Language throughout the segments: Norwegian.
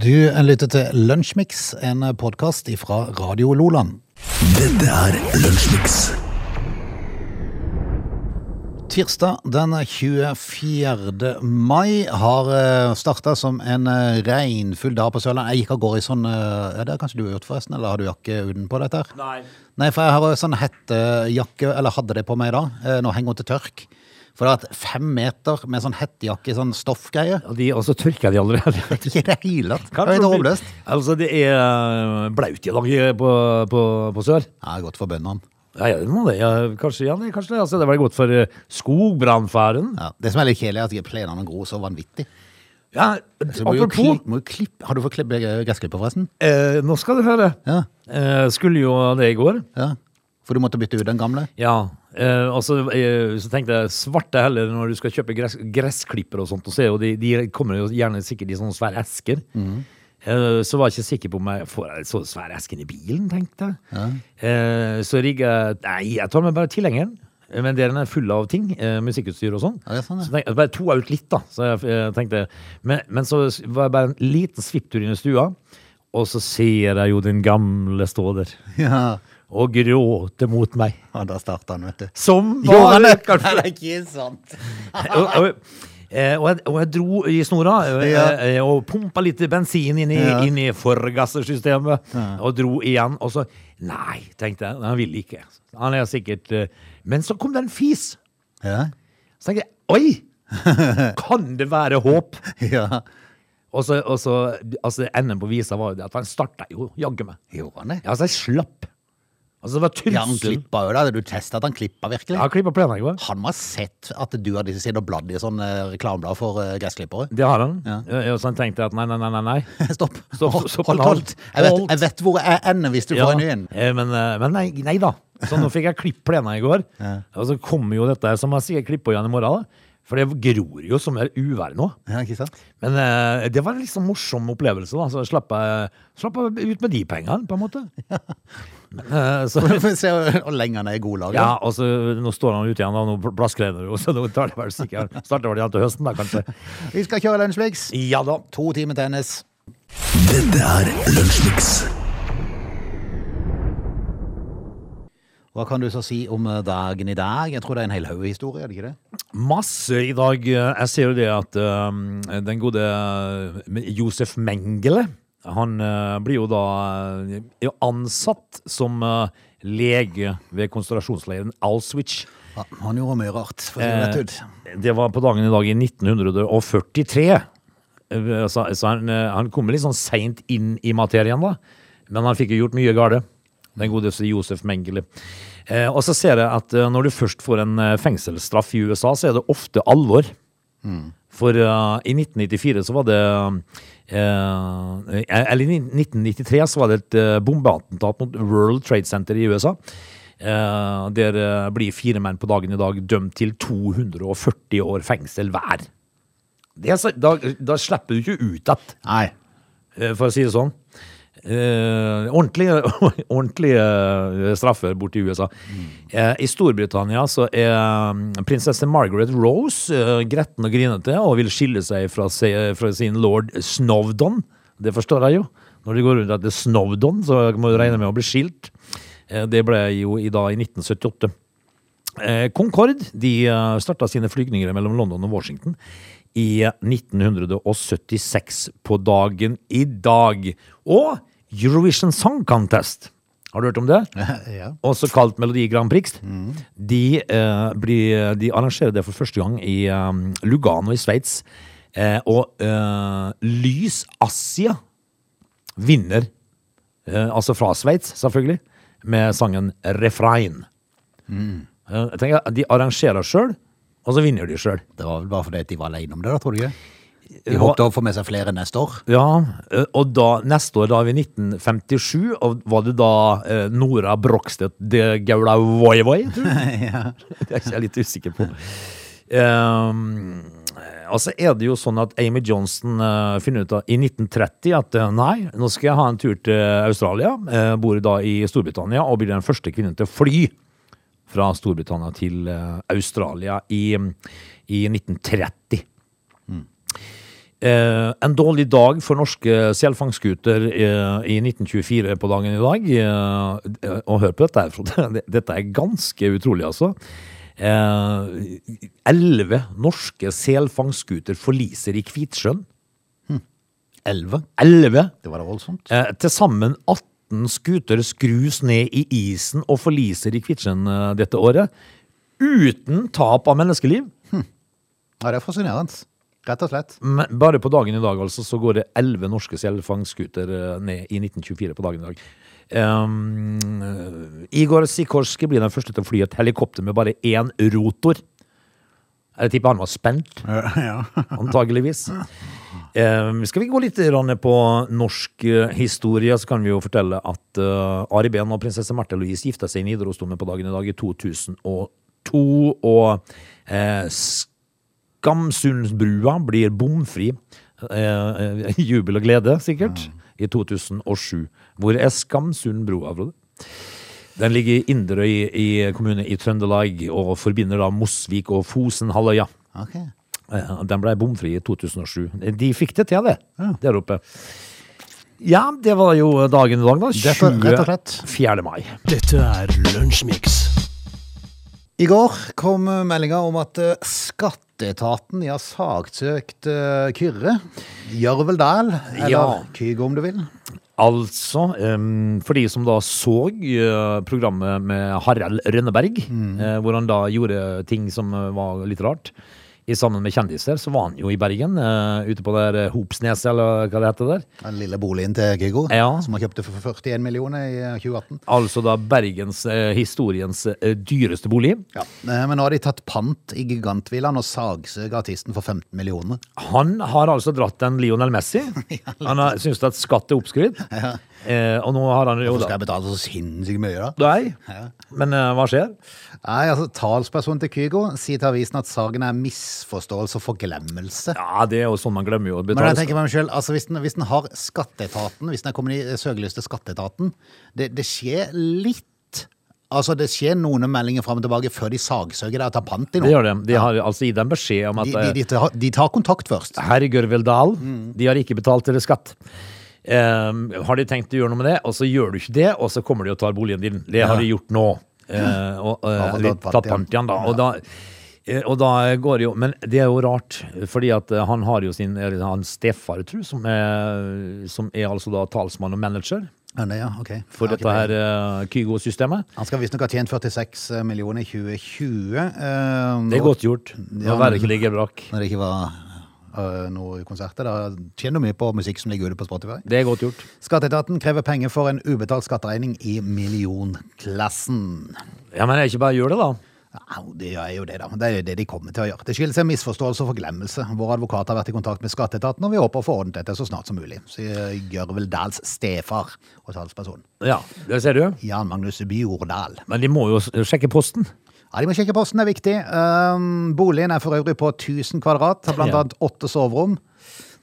Du lytter til Lunsjmix, en podkast fra Radio Loland. Dette er Lunsjmix. Tirsdag den 24. mai har starta som en eh, regnfull dag på Sørlandet. Jeg gikk av gårde i sånn eh, ja, Det har kanskje du gjort, forresten? Eller har du jakke utenpå dette? her? Nei. Nei, for jeg har jo sånn hettejakke, eller hadde det på meg i dag. Eh, Nå henger hun til tørk. For det har vært fem meter med sånn hettejakke, sånn stoffgreie. Og, de, og så tørker de allerede. Ikke i det hele tatt. Det er helt håpløst. Altså, det er eh, blaut i dag på, på, på sør. Ja, godt for bøndene. Ja, ja, det må det. Ja, kanskje, ja, det- kanskje det. Altså, det var godt for eh, skogbrannfaren. Ja. Det som er litt kjedelig, er at plenene gror så vanvittig. Ja, Så må jo apropos, kli- må jo klippe- Har du fått klippe eh, gressklipper, forresten? eh, nå skal du høre. Ja. Eh, skulle jo det i går. ja. For du måtte bytte ut den gamle? Ja. Eh, og så, eh, så tenkte jeg svarte heller når du skal kjøpe gress, gressklipper og sånt. Og så er jo de, de kommer jo gjerne sikkert i sånne svære esker. Mhm. Eh, så var jeg ikke sikker på om jeg får en så svær eske i bilen, tenkte jeg. Eh, så rigga jeg Nei, jeg tar med bare tilhengeren. eh, Men den er full av ting. Eh, musikkutstyr og sånn. Ja, det er sånn, ja. Så tenkte jeg bare to ut litt, da. Så jeg eh, tenkte men, men så var det bare en liten svipptur inn i stua, og så ser jeg jo den gamle stå der Ja. og gråte mot meg. ja da starta han, vet du. Som Gjorde han bare det? kanskje. Nei, det er ikke sant. og, og, eh, og, jeg, og jeg dro i snora eh, Ja. eh, og pumpa litt bensin inn i, Ja. inn i forgassersystemet. Og dro igjen. Og så Nei, tenkte jeg. Han vil ikke. Han er sikkert eh, Men så kom det en fis. Ja. Så tenkte jeg Oi! Kan det være håp? ja. Og så, og så altså, Enden på visa var jo det at han starta jo jaggu meg. Gjorde han det? Ja, så jeg slapp. Altså, det var Ja, han trussel. klippa jo da. Du testa at han klippa virkelig? Ja, klippa plenen i går. Han må ha sett at du hadde sittet og bladd i sånn eh, reklameblad for eh, gressklippere. Det har han. Ja. Ja, Så han tenkte at nei, nei, nei, nei. nei. Stopp. Stopp, Hold- stopp, hold, hold. hold. Jeg, vet, Hold. jeg vet hvor jeg ender hvis du får en ny en. Eh, Men, eh, men nei, nei da. Så nå fikk jeg klipp plena i går. Og så kommer jo dette som jeg sier klipper igjen i morgen. da. For det gror jo som er uvær nå. Ja, ikke sant? Men eh, det var en liksom morsom opplevelse, da. Så slapp jeg, slapp jeg ut med de pengene, på en måte. Men, eh, så, Vi får se hvor hvor lenge han er i godlaget. ja, og så nå står han ute igjen, da. Nå pl- plasker det jo, så nå tar det vel sikkert Starter vel igjen til høsten, da, kanskje. Vi skal kjøre Lunsjmix. Ja da. To timer tennis. Dette er Lunsjmix. Hva kan du så si om eh, dagen i dag? Jeg tror det er en hel haug historie, er det ikke det? Masse i dag. Jeg ser jo det at eh, den gode eh, Josef Mengele, han eh, blir jo da eh, er jo ansatt som eh, lege ved konsentrasjonsleiren Auschwitz. Eh, Ja, han gjorde mye rart, for å si det rett ut. Det var på dagen i dag i 1943. Eh, Så, så han, eh, han kommer litt sånn seint inn i materien, da. Men han fikk jo gjort mye gale. Den godeste Josef Mengele. Eh, og så ser jeg at eh, når du først får en eh, fengselsstraff i USA, så er det ofte alvor. For eh, i 1994 så var det eh, Eller i 1993 så var det et eh, bombeattentat mot World Trade Center i USA. Eh, der eh, blir fire menn på dagen i dag dømt til 240 år fengsel hver. Det er så, da, da slipper du ikke ut igjen, Nei. eh, for å si det sånn. Eh, ordentlige ordentlige eh, straffer borte i USA. Eh, I Storbritannia så er mm, prinsesse Margaret Rose eh, gretten og grinete og vil skille seg fra, se, fra sin lord Snowdon. Det forstår jeg jo. Når de går rundt etter Snowdon, så må du regne med å bli skilt. Eh, det ble jo i dag i 1978. Eh, Concorde de eh, starta sine flygninger mellom London og Washington i 1976 på dagen i dag. Og Eurovision Song Contest. Har du hørt om det? Ja. Også kalt Melodi Grand Prix. De, eh, blir, de arrangerer det for første gang i eh, Lugano i Sveits. Eh, og eh, Lys Asia vinner, eh, altså fra Sveits, selvfølgelig, med sangen 'Refrain'. Eh, Jeg tenker at De arrangerer sjøl, og så vinner de sjøl. Det var vel bare fordi at de var alene om det, da, tror du ikke? De håpte å få med seg flere neste år. Ja, eh, og da, neste år, da er vi 1957, og var det da eh, Nora Brokstedt de Gaula Voivoi? Det er ikke jeg litt usikker på. Um, og så er det jo sånn at Amy Johnson eh, finner ut av, i 1930 at eh, nei, nå skal jeg ha en tur til Australia. eh, bor da i Storbritannia og blir den første kvinnen til å fly fra Storbritannia til eh, Australia i, i 1930. Eh, en dårlig dag for norske selfangstskuter eh, i 1924 på dagen i dag. Eh, og hør på dette her, Frode. Dette er ganske utrolig, altså. Eh, Elleve norske selfangstskuter forliser i Kvitsjøen. 11. Elleve! Det var da voldsomt. Eh, til sammen 18 skuter skrus ned i isen og forliser i Kvitsjøen eh, dette året. Uten tap av menneskeliv. Ja, det er fascinerende. Rett og slett. Men bare på dagen i dag altså, så går det 11 norske selfangstskuter eh, ned i 1924 på dagen i dag. Ehm, Igor Sikorski blir den første til å fly et helikopter med bare én rotor. Jeg tipper han var spent, antageligvis. Ehm, skal vi gå litt grann på norsk eh, historie, så kan vi jo fortelle at eh, Ari Behn og prinsesse Märtha Louise gifta seg i Nidarosdomen på dagen i dag i 2002. Og eh, Skamsundsbrua blir bomfri. Eh, eh, jubel og glede, sikkert, i 2007. Hvor er Skamsundbrua, Frode? Den ligger i Inderøy i kommune i Trøndelag og forbinder da Mosvik og Fosenhalvøya. Ok. Eh, Den ble bomfri i 2007. De fikk det til, det, der oppe. Ja, det var jo dagen i dag, da. Det var rett og slett. 24. mai. Dette er Lunsjmix. I går kom meldinga om at eh, skatteetaten de har saksøkt eh, Kyrre. Jørvel Dahl, eller Ja. Kygo om du vil. Altså, em, for de som da så eh, programmet med Harald Rønneberg, Mm. eh, hvor han da gjorde ting som eh, var litt rart, i sammen med kjendiser, så var han jo i Bergen, eh, ute på der eh, Hopsneset, eller hva det heter der. Den lille boligen til Kygo, Ja. som han kjøpte for 41 millioner i eh, 2018. Altså da Bergens eh, historiens eh, dyreste bolig. Ja. eh, Men nå har de tatt pant i gigantvillaen og sagsøker artisten for 15 millioner. Han har altså dratt en Lionel Messi. Han har syntes at skatt er oppskrytt. Eh, og nå har han jo Hvorfor skal da... jeg betale så sinnssykt mye, da? Nei, men eh, hva skjer? Nei, altså Talspersonen til Kygo sier til avisen at saken er misforståelse og forglemmelse. Ja, det er jo sånn man glemmer jo å Men betale jeg tenker meg selv, altså hvis den, hvis den har skatteetaten, hvis den er kommet i søkelys til skatteetaten, det, det skjer litt. Altså det skjer noen meldinger frem og tilbake før de sagsøker deg og tar pant i Det noe. gjør det. De har altså gitt dem beskjed om at De, de, de, tar, de tar kontakt først. eh, herr Gørvel Dahl, Mm. de har ikke betalt deres skatt. Ehm, har de tenkt å gjøre noe med det, og så gjør du ikke det, og så kommer de og tar boligen din. Det har de gjort nå. Eh, og, eh, Har fått eller tatt pant tatt igjen. pant igjen, da. Og da, eh, og da går det jo Men det er jo rart, fordi at eh, han har jo sin eller Han Steffar, tror jeg, som er, som er altså da talsmann og manager Ja, nei, ja, ok. for Ja, ok, dette her eh, Kygo-systemet. Han skal visstnok ha tjent 46 millioner i 2020. eh, Det er nå- godt gjort. Ja, Å være men- ikke ligge brakk. Når det ikke var øh, noe konserter. Da tjener du mye på musikk som ligger ute på Spotify. Det er godt gjort. Skatteetaten krever penger for en ubetalt skatteregning i millionklassen. Ja, Men jeg ikke bare gjør det, da. Au, det er jo det, da. Det er jo det de kommer til å gjøre. Det skyldes en misforståelse og forglemmelse. Vår advokat har vært i kontakt med skatteetaten, og vi håper å få ordnet dette så snart som mulig, sier Gjørvel Dahls stefar og talsperson. Ja, det ser du. Jan Magnus Bjordal. Men de må jo s- sjekke posten. Ja, De må sjekke posten, det er viktig. Ehm, boligen er for øvrig på 1000 kvadrat, har blant Ja. annet åtte soverom.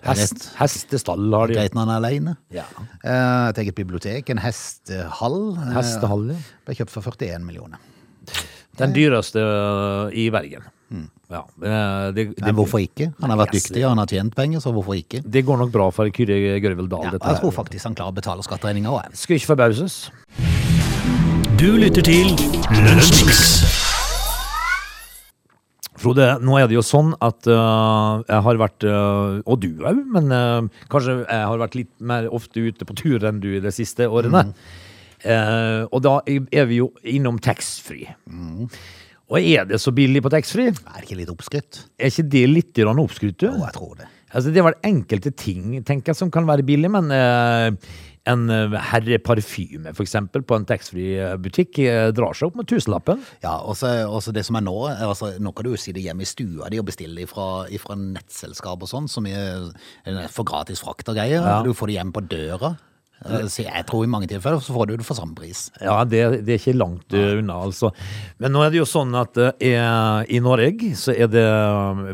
Hest, hestestall har de. Greit når han er alene. Ja. Eh, Et eget bibliotek, en hestehall. eh, Hestehall, ja. Ble kjøpt for 41 millioner. Den dyreste øh, i Bergen. Mm. Ja. eh, Det, det, Men hvorfor ikke? Han har vært Yes. dyktig, og han har tjent penger, så hvorfor ikke? det går nok bra for Kyrre Gørvel Dahl, Ja, dette jeg tror her. faktisk han klarer å betale skatteregninga òg. Skulle ikke forbauses. Du lytter til Lunsjmix. Frode, nå er det jo sånn at øh, jeg har vært, øh, og du òg, men øh, kanskje jeg har vært litt mer ofte ute på tur enn du i de siste Mm. årene. Eh, og da er vi jo innom taxfree. Mm. Og er det så billig på taxfree? Er det ikke litt oppskrytt? Er ikke det litt grann oppskrytt? du? Jo, jeg tror det. Altså, det var enkelte ting tenker jeg, som kan være billig, men eh, en eh, herreparfyme for eksempel, på en taxfree-butikk eh, drar seg opp med tusenlappen. Ja, og så det som er nå er altså, Nå kan du jo si det hjemme i stua di og bestille ifra, ifra nettselskap og sånn, som er, er for gratis frakt og greier. Ja. Du får det hjem på døra. Eh, Så jeg tror i mange tilfeller så får du det for samme pris. Ja, det, det er ikke langt eh, unna, altså. Men nå er det jo sånn at eh, i i Norge så er det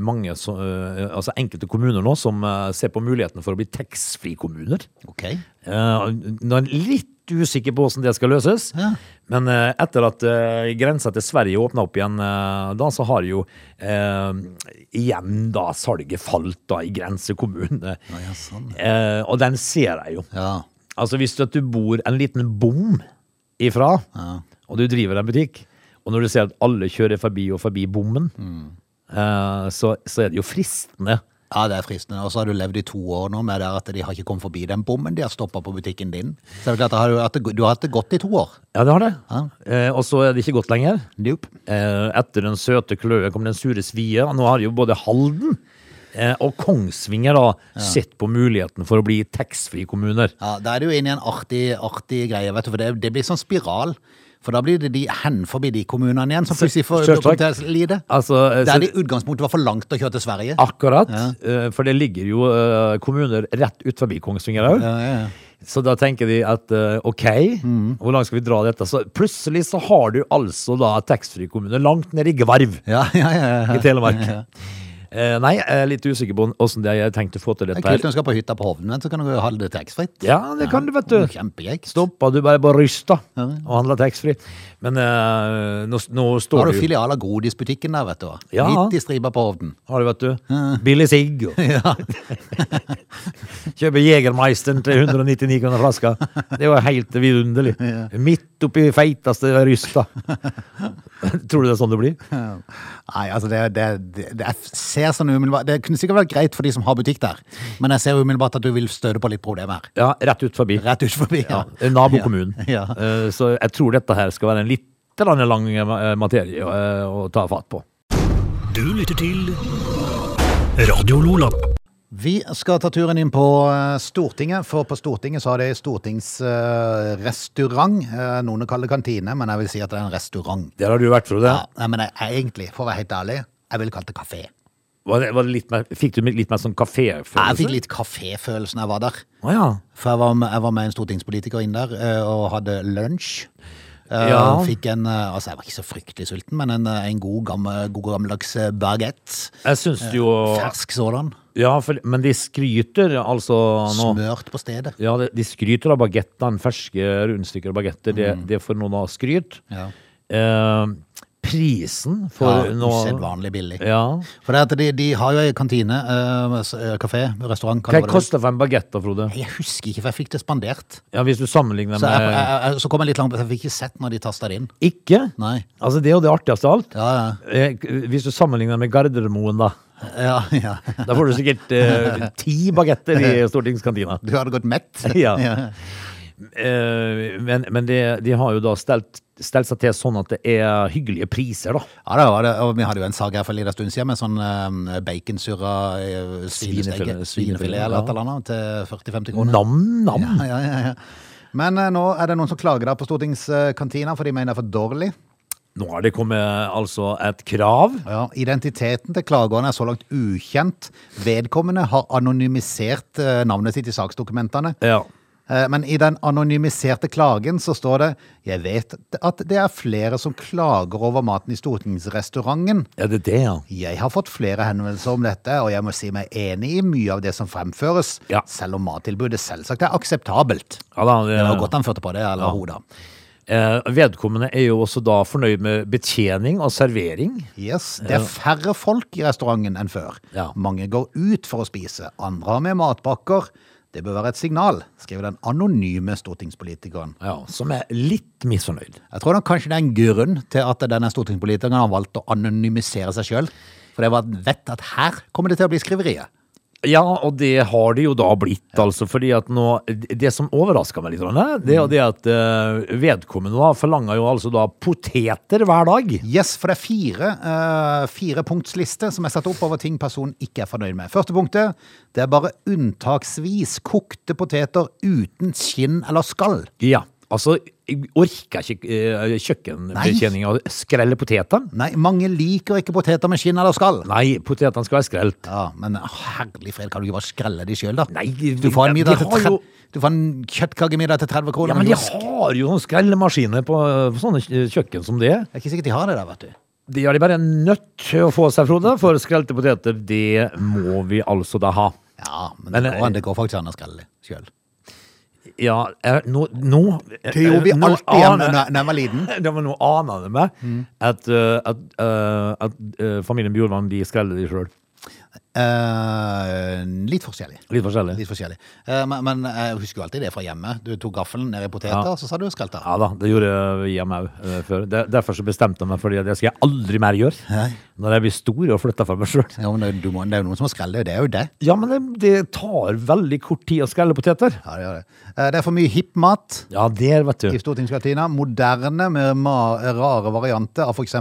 mange, som, eh, altså enkelte kommuner nå som eh, ser på muligheten for å bli taxfree-kommuner. Ok? Eh, Når litt usikker på hvordan det skal løses. Ja. Men eh, etter at eh, grensa til Sverige åpna opp igjen, eh, da så har jo eh, igjen da salget falt da i grensekommunene. ja, sånn. Eh, og den ser jeg jo. Ja. Altså hvis du, at du bor en liten bom ifra, og du driver en butikk, og når du ser at alle kjører forbi og forbi bommen, Mm. eh, så, så er det jo fristende. ja, det er fristende. Og så har du levd i to år nå med det at de har ikke kommet forbi den bommen de har stoppa på butikken din. Så det er klart, da har du, hatt det, du har hatt det godt i to år. Ja, det har det. Ja. Eh, og så er det ikke godt lenger. Nope. Eh, etter den søte kløe kom den sure svie, og nå har jo både Halden eh, og Kongsvinger da sett på muligheten for å bli taxfree-kommuner. Ja, Da er du inne i en artig, artig greie, vet du, for det, det blir sånn spiral. For da blir det de hen forbi de kommunene igjen som plutselig får Selvsagt. kommer til å lide. Altså, eh, Der så- det i utgangspunktet var for langt å kjøre til Sverige. Akkurat, eh, for det ligger jo eh, kommuner rett ut forbi Kongsvinger òg. Ja, ja, ja. Så da tenker de at eh, ok, Mm. hvor langt skal vi dra dette? Så plutselig så har du altså da taxfree-kommune langt ned i Gvarv Ja, ja, ja, ja. i Telemark. Eh, nei, jeg er litt usikker på åssen de har tenkt å få til Det dette. er kult her. når du skal på hytta på Hovden, men så kan du holde det Mm, taxfritt. Ja, det kan du, vet du. Kjempegøy. Stoppa du bare på Rysta og handla taxfree. Men eh, nå, nå Da står har det du jo filial av Godisbutikken der, vet du. Ja. Midt i stripa på Hovden. Har du, vet du. Billig sigg. og- Kjøper Jegermeisteren til 199 kroner flaska. Det var helt vidunderlig. Midt oppi feiteste Rysta. Tror du det er sånn det blir? Nei, altså det, det, det, det jeg ser sånn umiddelbart Det kunne sikkert vært greit for de som har butikk der, men jeg ser umiddelbart at du vil støte på litt problemer her. Ja, rett ut forbi. Rett ut forbi. Ja, nabokommunen. Ja. Eh, Så jeg tror dette her skal være en litt grann lang eh, materie eh, å ta fatt på. Du lytter til Radio Lola. Vi skal ta turen inn på eh, Stortinget, for på Stortinget så har de stortingsrestaurant. Eh, Noen kaller det kantine, men jeg vil si at det er en restaurant. Der har du vært, Frode. Ja, nei, men jeg, jeg, egentlig, for å være helt ærlig, jeg ville kalt det kafé. Var det, var det litt mer, fikk du litt mer sånn kaféfølelse? Jeg fikk litt kaféfølelsen jeg var der. Å ja. For jeg var, med, jeg var med en stortingspolitiker inn der eh, og hadde lunsj. Eh, Ja. Fikk en, eh, altså jeg var ikke så fryktelig sulten, men en, eh, en god, gammel, god gammeldags eh, baguette. Jeg syns jo Fersk sådan. Ja, for, men de skryter altså nå Smørt på stedet. ja, de- De skryter av bagettene, ferske rundstykker og bagetter. Det, Mm. det får noen da skryt. Ja. Eh, prisen for Ja, nå Usedvanlig billig. Ja. For det at de, de har jo ei kantine, eh, s- eh, kafé, restaurant Hva kaller vi det. koster for en bagett, da, Frode? Jeg husker ikke, for jeg fikk det spandert. Ja, Hvis du sammenligner Så, jeg, jeg, med jeg, jeg- så kom jeg litt langt, for jeg fikk ikke sett når de tasta det inn. Ikke? Nei. Altså, Det er jo det artigste av alt. Ja, ja. Eh, Hvis du sammenligner med Gardermoen, da. ja, ja. Da får du sikkert eh, ti bagetter i stortingskantina. Du hadde gått mett. Ja. Eh, men men det, de har jo da stelt, stelt seg til sånn at det er hyggelige priser, da. Ja, det var det. Og vi hadde jo en sak her for en liten stund siden med sånn eh, baconsurra eh, svinesteke, Svinefilet, svinefilet ja. eller et eller annet, til 40-50 kroner. Nam-nam! Ja, ja, ja, ja. Men eh, nå er det noen som klager da på stortingskantina, for de mener det er for dårlig. Nå har det kommet altså et krav. Ja, identiteten til klagerne er så langt ukjent. Vedkommende har anonymisert eh, navnet sitt i saksdokumentene. Ja. Eh, Men i den anonymiserte klagen så står det Jeg vet at det er flere som klager over maten i stortingsrestauranten. Er det det, ja? Jeg har fått flere henvendelser om dette, og jeg må si meg enig i mye av det som fremføres, Ja. selv om mattilbudet selvsagt er akseptabelt. ja da, Det var godt han førte på det, eller hodet. Eh, vedkommende er jo også da fornøyd med betjening og servering. Yes, det er færre folk i restauranten enn før. Ja. Mange går ut for å spise, andre har med matpakker. Det bør være et signal, skriver den anonyme stortingspolitikeren. Ja, som er litt misfornøyd. Jeg tror nok kanskje det er en grunn til at denne stortingspolitikeren har valgt å anonymisere seg sjøl. For det var vett at her kommer det til å bli skriveriet. Ja, og det har det jo da blitt, altså. fordi at nå, Det som overraska meg litt, Ronne, det er Mm. jo det at eh, vedkommende da forlanger jo altså da poteter hver dag. Yes, for det er fire eh, firepunktsliste som er satt opp over ting personen ikke er fornøyd med. Første punktet det er bare unntaksvis kokte poteter uten skinn eller skall. Ja, altså jeg orker ikke eh, kjøkkenbetjeninga å skrelle potetene. Nei, mange liker ikke poteter med skinn eller skall. Nei, potetene skal være skrelt. Ja, Men herlig fred, kan du ikke bare skrelle de sjøl, da? Nei, du får en, de middag har til tre- jo- du får en kjøttkakemiddag til 30 Ja, kroner. men men de jo, har jo sånne skrellemaskiner på, eh, på sånne kj- kjøkken som det. Det er ikke sikkert de har det der, vet du. De har de bare nødt til å få seg, Frode, for skrelte poteter, det må vi altså da ha. Ja, men, Men, det, går, eh, det går faktisk an å skrelle sjøl. Ja, eh, nå, nå Det gjorde vi eh, nå alltid hjemme aner- da da jeg var liten. Det var noe annet med at, eh, at, eh, at eh, familien Bjorvann de skreller de sjøl. Eh, litt forskjellig. Litt forskjellig. Litt forskjellig. Eh, men, men jeg husker jo alltid det fra hjemme. Du tok gaffelen ned i poteter, Ja. så sa du skrelt der. Ja da, det gjorde vi hjemme òg før. Der- Derfor så bestemte jeg meg for det. Det skal jeg aldri mer gjøre. Når jeg blir stor og flytter for meg sjøl. Ja, men det, er jo- du må, det er jo noen som har skrelt, det er jo det. Ja, men det, det tar veldig kort tid å skrelle poteter. Ja, det, gjør det. Eh, det er for mye hipp mat Ja, der, vet i du. stortingskantina. Moderne med ma rare varianter av f.eks.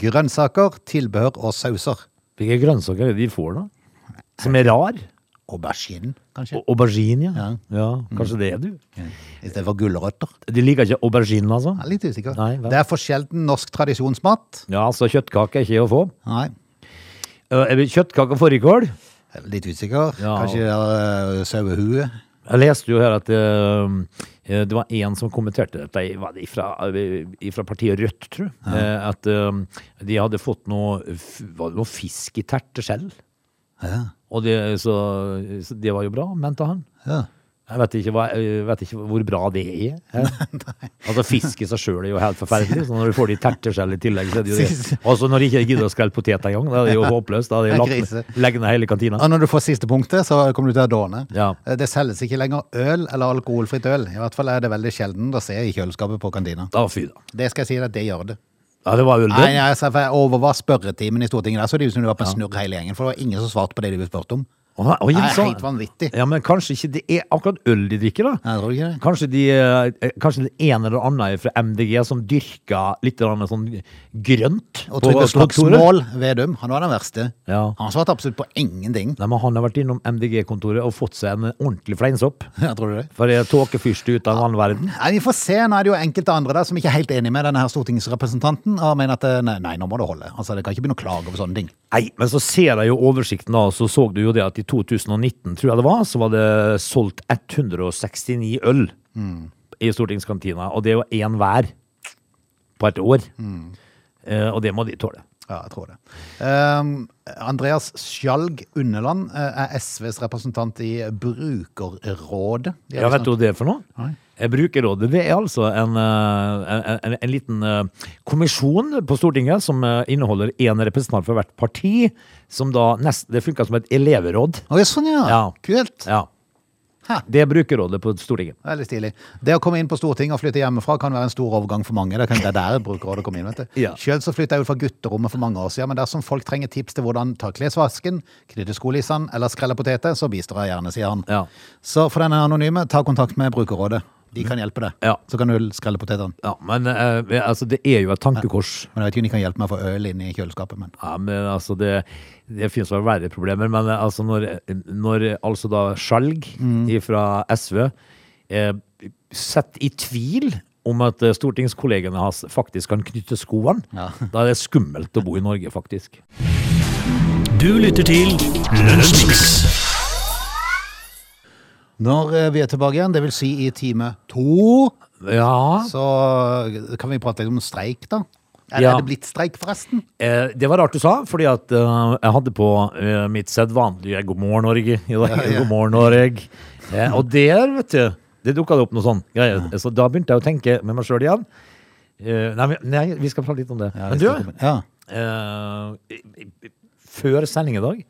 grønnsaker, tilbehør og sauser. Hvilke grønnsaker er det de får, da? Som er rar? Aubergine, kanskje. Au- Aubergine, ja. Ja. ja. Kanskje det er du? I stedet for gulrøtter. De liker ikke aubergine, altså? Jeg er litt usikker. Nei, vel. det er for sjelden norsk tradisjonsmat. Ja, altså kjøttkake er ikke å få. Nei. Eh, er det Kjøttkake og fårikål? jeg er Litt usikker. Ja. Kanskje det er, eh, sauehue. Jeg leste jo her at eh, eh, det var en som kommenterte dette, var det fra, partiet Rødt, tror jeg, eh, at eh, de hadde fått noe, f- var det noe fisk i terteskjell. Ja. Og det, så, så det var jo bra, mente han. Ja. Jeg vet ikke, hva, jeg vet ikke hvor bra det er. eh. altså Fisk i seg sjøl er jo helt forferdelig. Så når du får det i terteskjell i tillegg, så er det jo det. Sist- Altså når de ikke gidder å skrelle potet engang, da er det jo håpløst. Da er det jo lagt Krise. ned- legge ned hele kantina. Og når du får siste punktet, så kommer du til å dåne. Ja. Eh, Det selges ikke lenger øl eller alkoholfritt øl. I hvert fall er det veldig sjelden å se i kjøleskapet på kantina. Da fy da. Det skal jeg si deg, det gjør det. Ja, det var øl, Nei, det. jeg, sa- for jeg overvar spørretimen i Stortinget der, så det ut som du var på en snurr hele gjengen, for det var ingen som svarte på det de ble spurt om. Å, oi, Det er sånn. helt vanvittig. Ja, men kanskje ikke det er akkurat øl de drikker, da. Nei, tror du ikke det? Kanskje, de, eh, kanskje det ene eller annet er fra MDG som dyrker litt grann sånn grønt. Og på Trygve kontoret. Slagsmål, Vedum, han var den verste. Ja. Han svarte absolutt på ingenting. Nei, men han har vært innom MDG-kontoret og fått seg en ordentlig fleinsopp. Ja, tror du det? For det er tåkefyrste ut av en annen verden. Nei, Vi får se. Nå er det jo enkelte andre der som ikke er helt enig med denne her stortingsrepresentanten. og mener at eh, nei, nei, nå må det holde. Altså, Det kan ikke begynne å klage over sånne ting. Nei, men så ser jeg jo oversikten da, så så du jo det at i 2019, tror jeg det var, så var det solgt 169 øl i stortingskantina, og det er jo en hver på et år. Eh, og det må de tåle. Ja, jeg tror det. Ehm, Andreas Skjalg Unneland eh, er SVs representant i Brukerrådet. De Ja, har vet du liksom- hva det er for noe? Nei. Eh, Brukerrådet det er altså en, eh, en, en, en liten eh, kommisjon på Stortinget som eh, inneholder én representant fra hvert parti. Som da nest, det funker som et elevråd. Oi, sånn, ja. Ja. Kult. Ja. Hæ. Det er Brukerrådet på Stortinget. Veldig stilig. Det å komme inn på Stortinget og flytte hjemmefra kan være en stor overgang for mange. Det kan- det er der Brukerrådet kom inn, vet du. Ja. Selv så flytta jeg ut fra gutterommet for mange år siden, men dersom folk trenger tips til hvordan ta klesvasken, knytte skolissene eller skrelle poteter, så bistår jeg gjerne, sier han. Ja. Så for denne anonyme, ta kontakt med Brukerrådet. De kan hjelpe deg. Ja. Så kan du skrelle potetene. Ja, men eh, altså, det er jo et tankekors. Men jeg vet ikke om de kan hjelpe meg å få øl inn i kjøleskapet, men Ja, men altså, det, det finnes vel verre problemer, men eh, altså, når, når eh, altså da Skjalg Mm. fra SV eh, setter i tvil om at eh, stortingskollegene hans faktisk kan knytte skoene, Ja. da er det skummelt å bo i Norge, faktisk. Du lytter til Lunsjmix. Når eh, vi er tilbake igjen, det vil si i time to, Ja, så eh, kan vi prate litt om streik, da. Er, Ja. er det blitt streik, forresten? eh, det var rart du sa, fordi at eh, jeg hadde på eh, mitt sedvanlige God morgen, Norge. i dag. Ja, ja. God morgen, Norge. Eh, og der, vet du, det dukka det opp noe sånn greier. Så da begynte jeg å tenke med meg sjøl igjen. Eh, nei, men- nei, vi skal prate litt om det. men du, Ja. eh, i- i- før sending i dag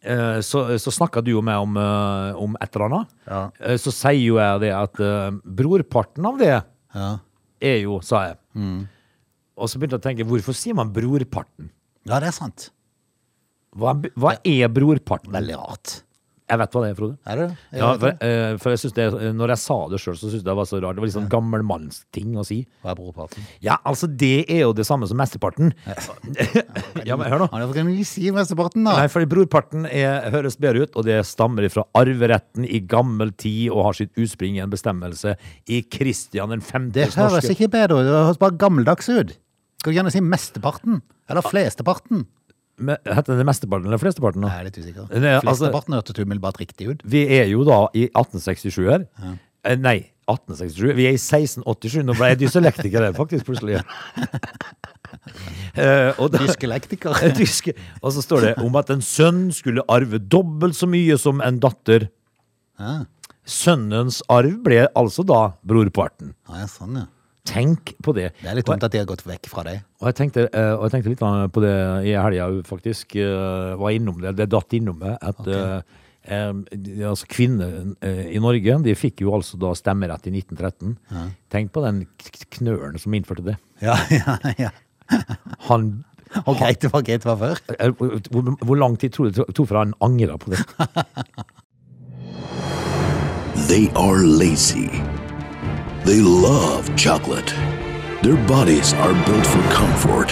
eh, så, så snakka du jo med om, eh, om et eller annet. Ja. Eh, så sier jo jeg det at eh, brorparten av det Ja. er jo, sa jeg. Mm. Og så begynte jeg å tenke, hvorfor sier man brorparten? ja, det er sant. Hva, er b- hva er brorparten? Veldig rart. Jeg vet hva det er, Frode. Er det det? Jeg Ja, vet for, det. eh, for jeg synes det, når jeg sa det sjøl, så syntes jeg det var så rart. Det var litt sånn gammelmannsting å si. Hva er brorparten? Ja, altså, det er jo det samme som mesteparten. ja, men hør nå. Ja, Hvorfor kan du ikke si mesteparten, da? Nei, fordi brorparten er, høres bedre ut, og det stammer fra arveretten i gammel tid og har sitt utspring i en bestemmelse i Kristian den Det 5.s høres norske ikke bedre ut. Det høres bare gammeldags ut. Skal du gjerne si mesteparten? Eller flesteparten? Men Heter det mesteparten eller flesteparten? Nei, Da? jeg er litt usikker. Det er, altså- Flesteparten hørtes umiddelbart riktig ut. Vi er jo da i 1867 her. Eh, Nei, 1867. Vi er i 1687. Nå ble jeg dyselektiker her, faktisk, plutselig. Eh, og da, Dyskelektiker. Tysk. Og så står det om at en sønn skulle arve dobbelt så mye som en datter. Ja. Sønnens arv ble altså da brorparten. Ja, sånn, ja. Tenk på det. Det er litt dumt at de har gått vekk fra deg. Og jeg tenkte, eh, og jeg tenkte litt eh, på det i helga, faktisk. eh, Var innom det. Det datt innom meg at eh, eh, de- altså kvinner eh, i Norge de fikk jo altså da stemmerett i 1913. Tenk på den k- knølen som innførte det. Ja, ja, ja. Han Og greit det var greit det var før. eh, hvor, hvor- hvor lang tid tror du det tok før han angra på det? They are lazy. They love chocolate. Their bodies are built for comfort.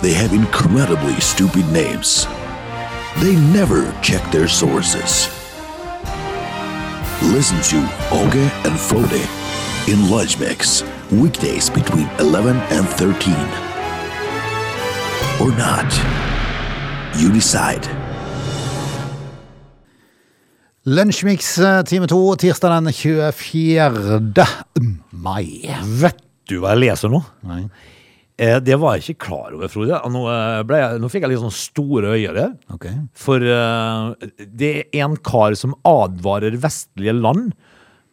They have incredibly stupid names. They never check their sources. Listen to Oge and Frode in Lunch Mix, weekdays between 11 and 13. Or not. You decide. Lunsjmix eh, time to, tirsdag den 24. mai. Vet du hva jeg leser nå? Nei. Eh, Det var jeg ikke klar over, Frode. Og Nå, eh, ble jeg, nå fikk jeg litt sånn store øyne. Ok. For eh, det er en kar som advarer vestlige land,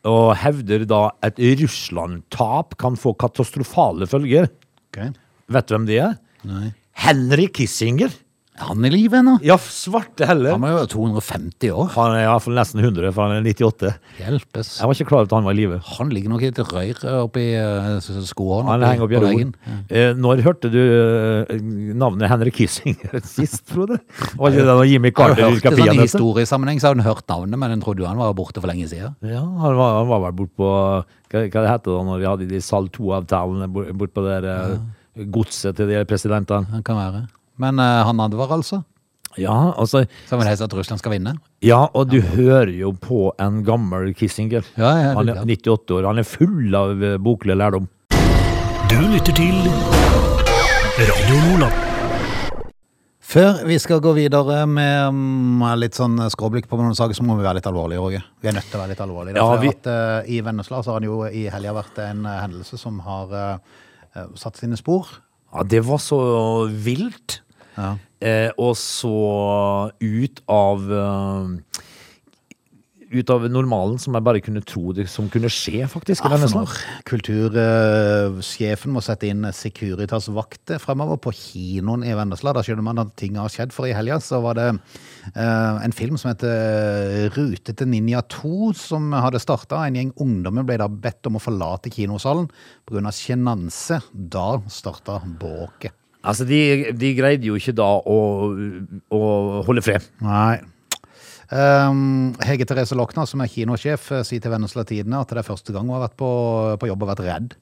og hevder da et Russland-tap kan få katastrofale følger. ok. Vet du hvem det er? Nei. Henry Kissinger. Er han i live ennå? Ja, svarte Han heller. er jo 250 år. Han er iallfall nesten 100, for han er 98. Hjelpes. Jeg var ikke klar over at han var i live. Han ligger nok i et røyr oppi eh, s- s- skoene. Han oppi- henger opp i på roen. veggen. Eh, Når hørte du eh, navnet Henry Kissinger sist, Frode? Var ikke det da Jimmy Har du Carter hørt rykka det sånn i peanøtter? historiesammenheng, så har hun hørt navnet, men hun trodde jo han var borte for lenge siden. Ja, han var, han var vel bort på Hva, hva det heter det da når vi hadde de Sal 2-avtalene bort, bort på det der eh, godset til de presidentene? Han kan være. Men eh, han advarer altså. Ja, altså, Så vil helst at Russland skal vinne. ja, og du hører jo på en gammel Kissinger. Ja, ja, det er han er klart. 98 år. Han er full av eh, boklig lærdom. Du lytter til Radio Nordland. Før vi skal gå videre med mm, litt sånn skråblikk på noen saker, så må vi være litt alvorlige, Åge. Vi er nødt til å være litt alvorlige. Ja, derfor vi- at, eh, I Vennesla så har det jo i helga vært en eh, hendelse som har eh, eh, satt sine spor. Ja, det var så vilt. Ja. Eh, og så ut av eh, Ut av normalen som jeg bare kunne tro det som kunne skje, faktisk. i denne snak. Kultursjefen eh, må sette inn Securitas-vakter fremover på kinoen i Vennesla. Da skjønner man at ting har skjedd, for i helga så var det eh, en film som heter eh, Rutete ninja 2, som hadde starta. En gjeng ungdommer ble da bedt om å forlate kinosalen pga. sjenanse. Da starta bråket. Altså, de, de greide jo ikke da å, å holde fred. Nei. Ehm, Hege Therese Lokna, som er kinosjef, eh, sier til Vennesla Tidende at det er første gang hun har vært på, på jobb og vært redd.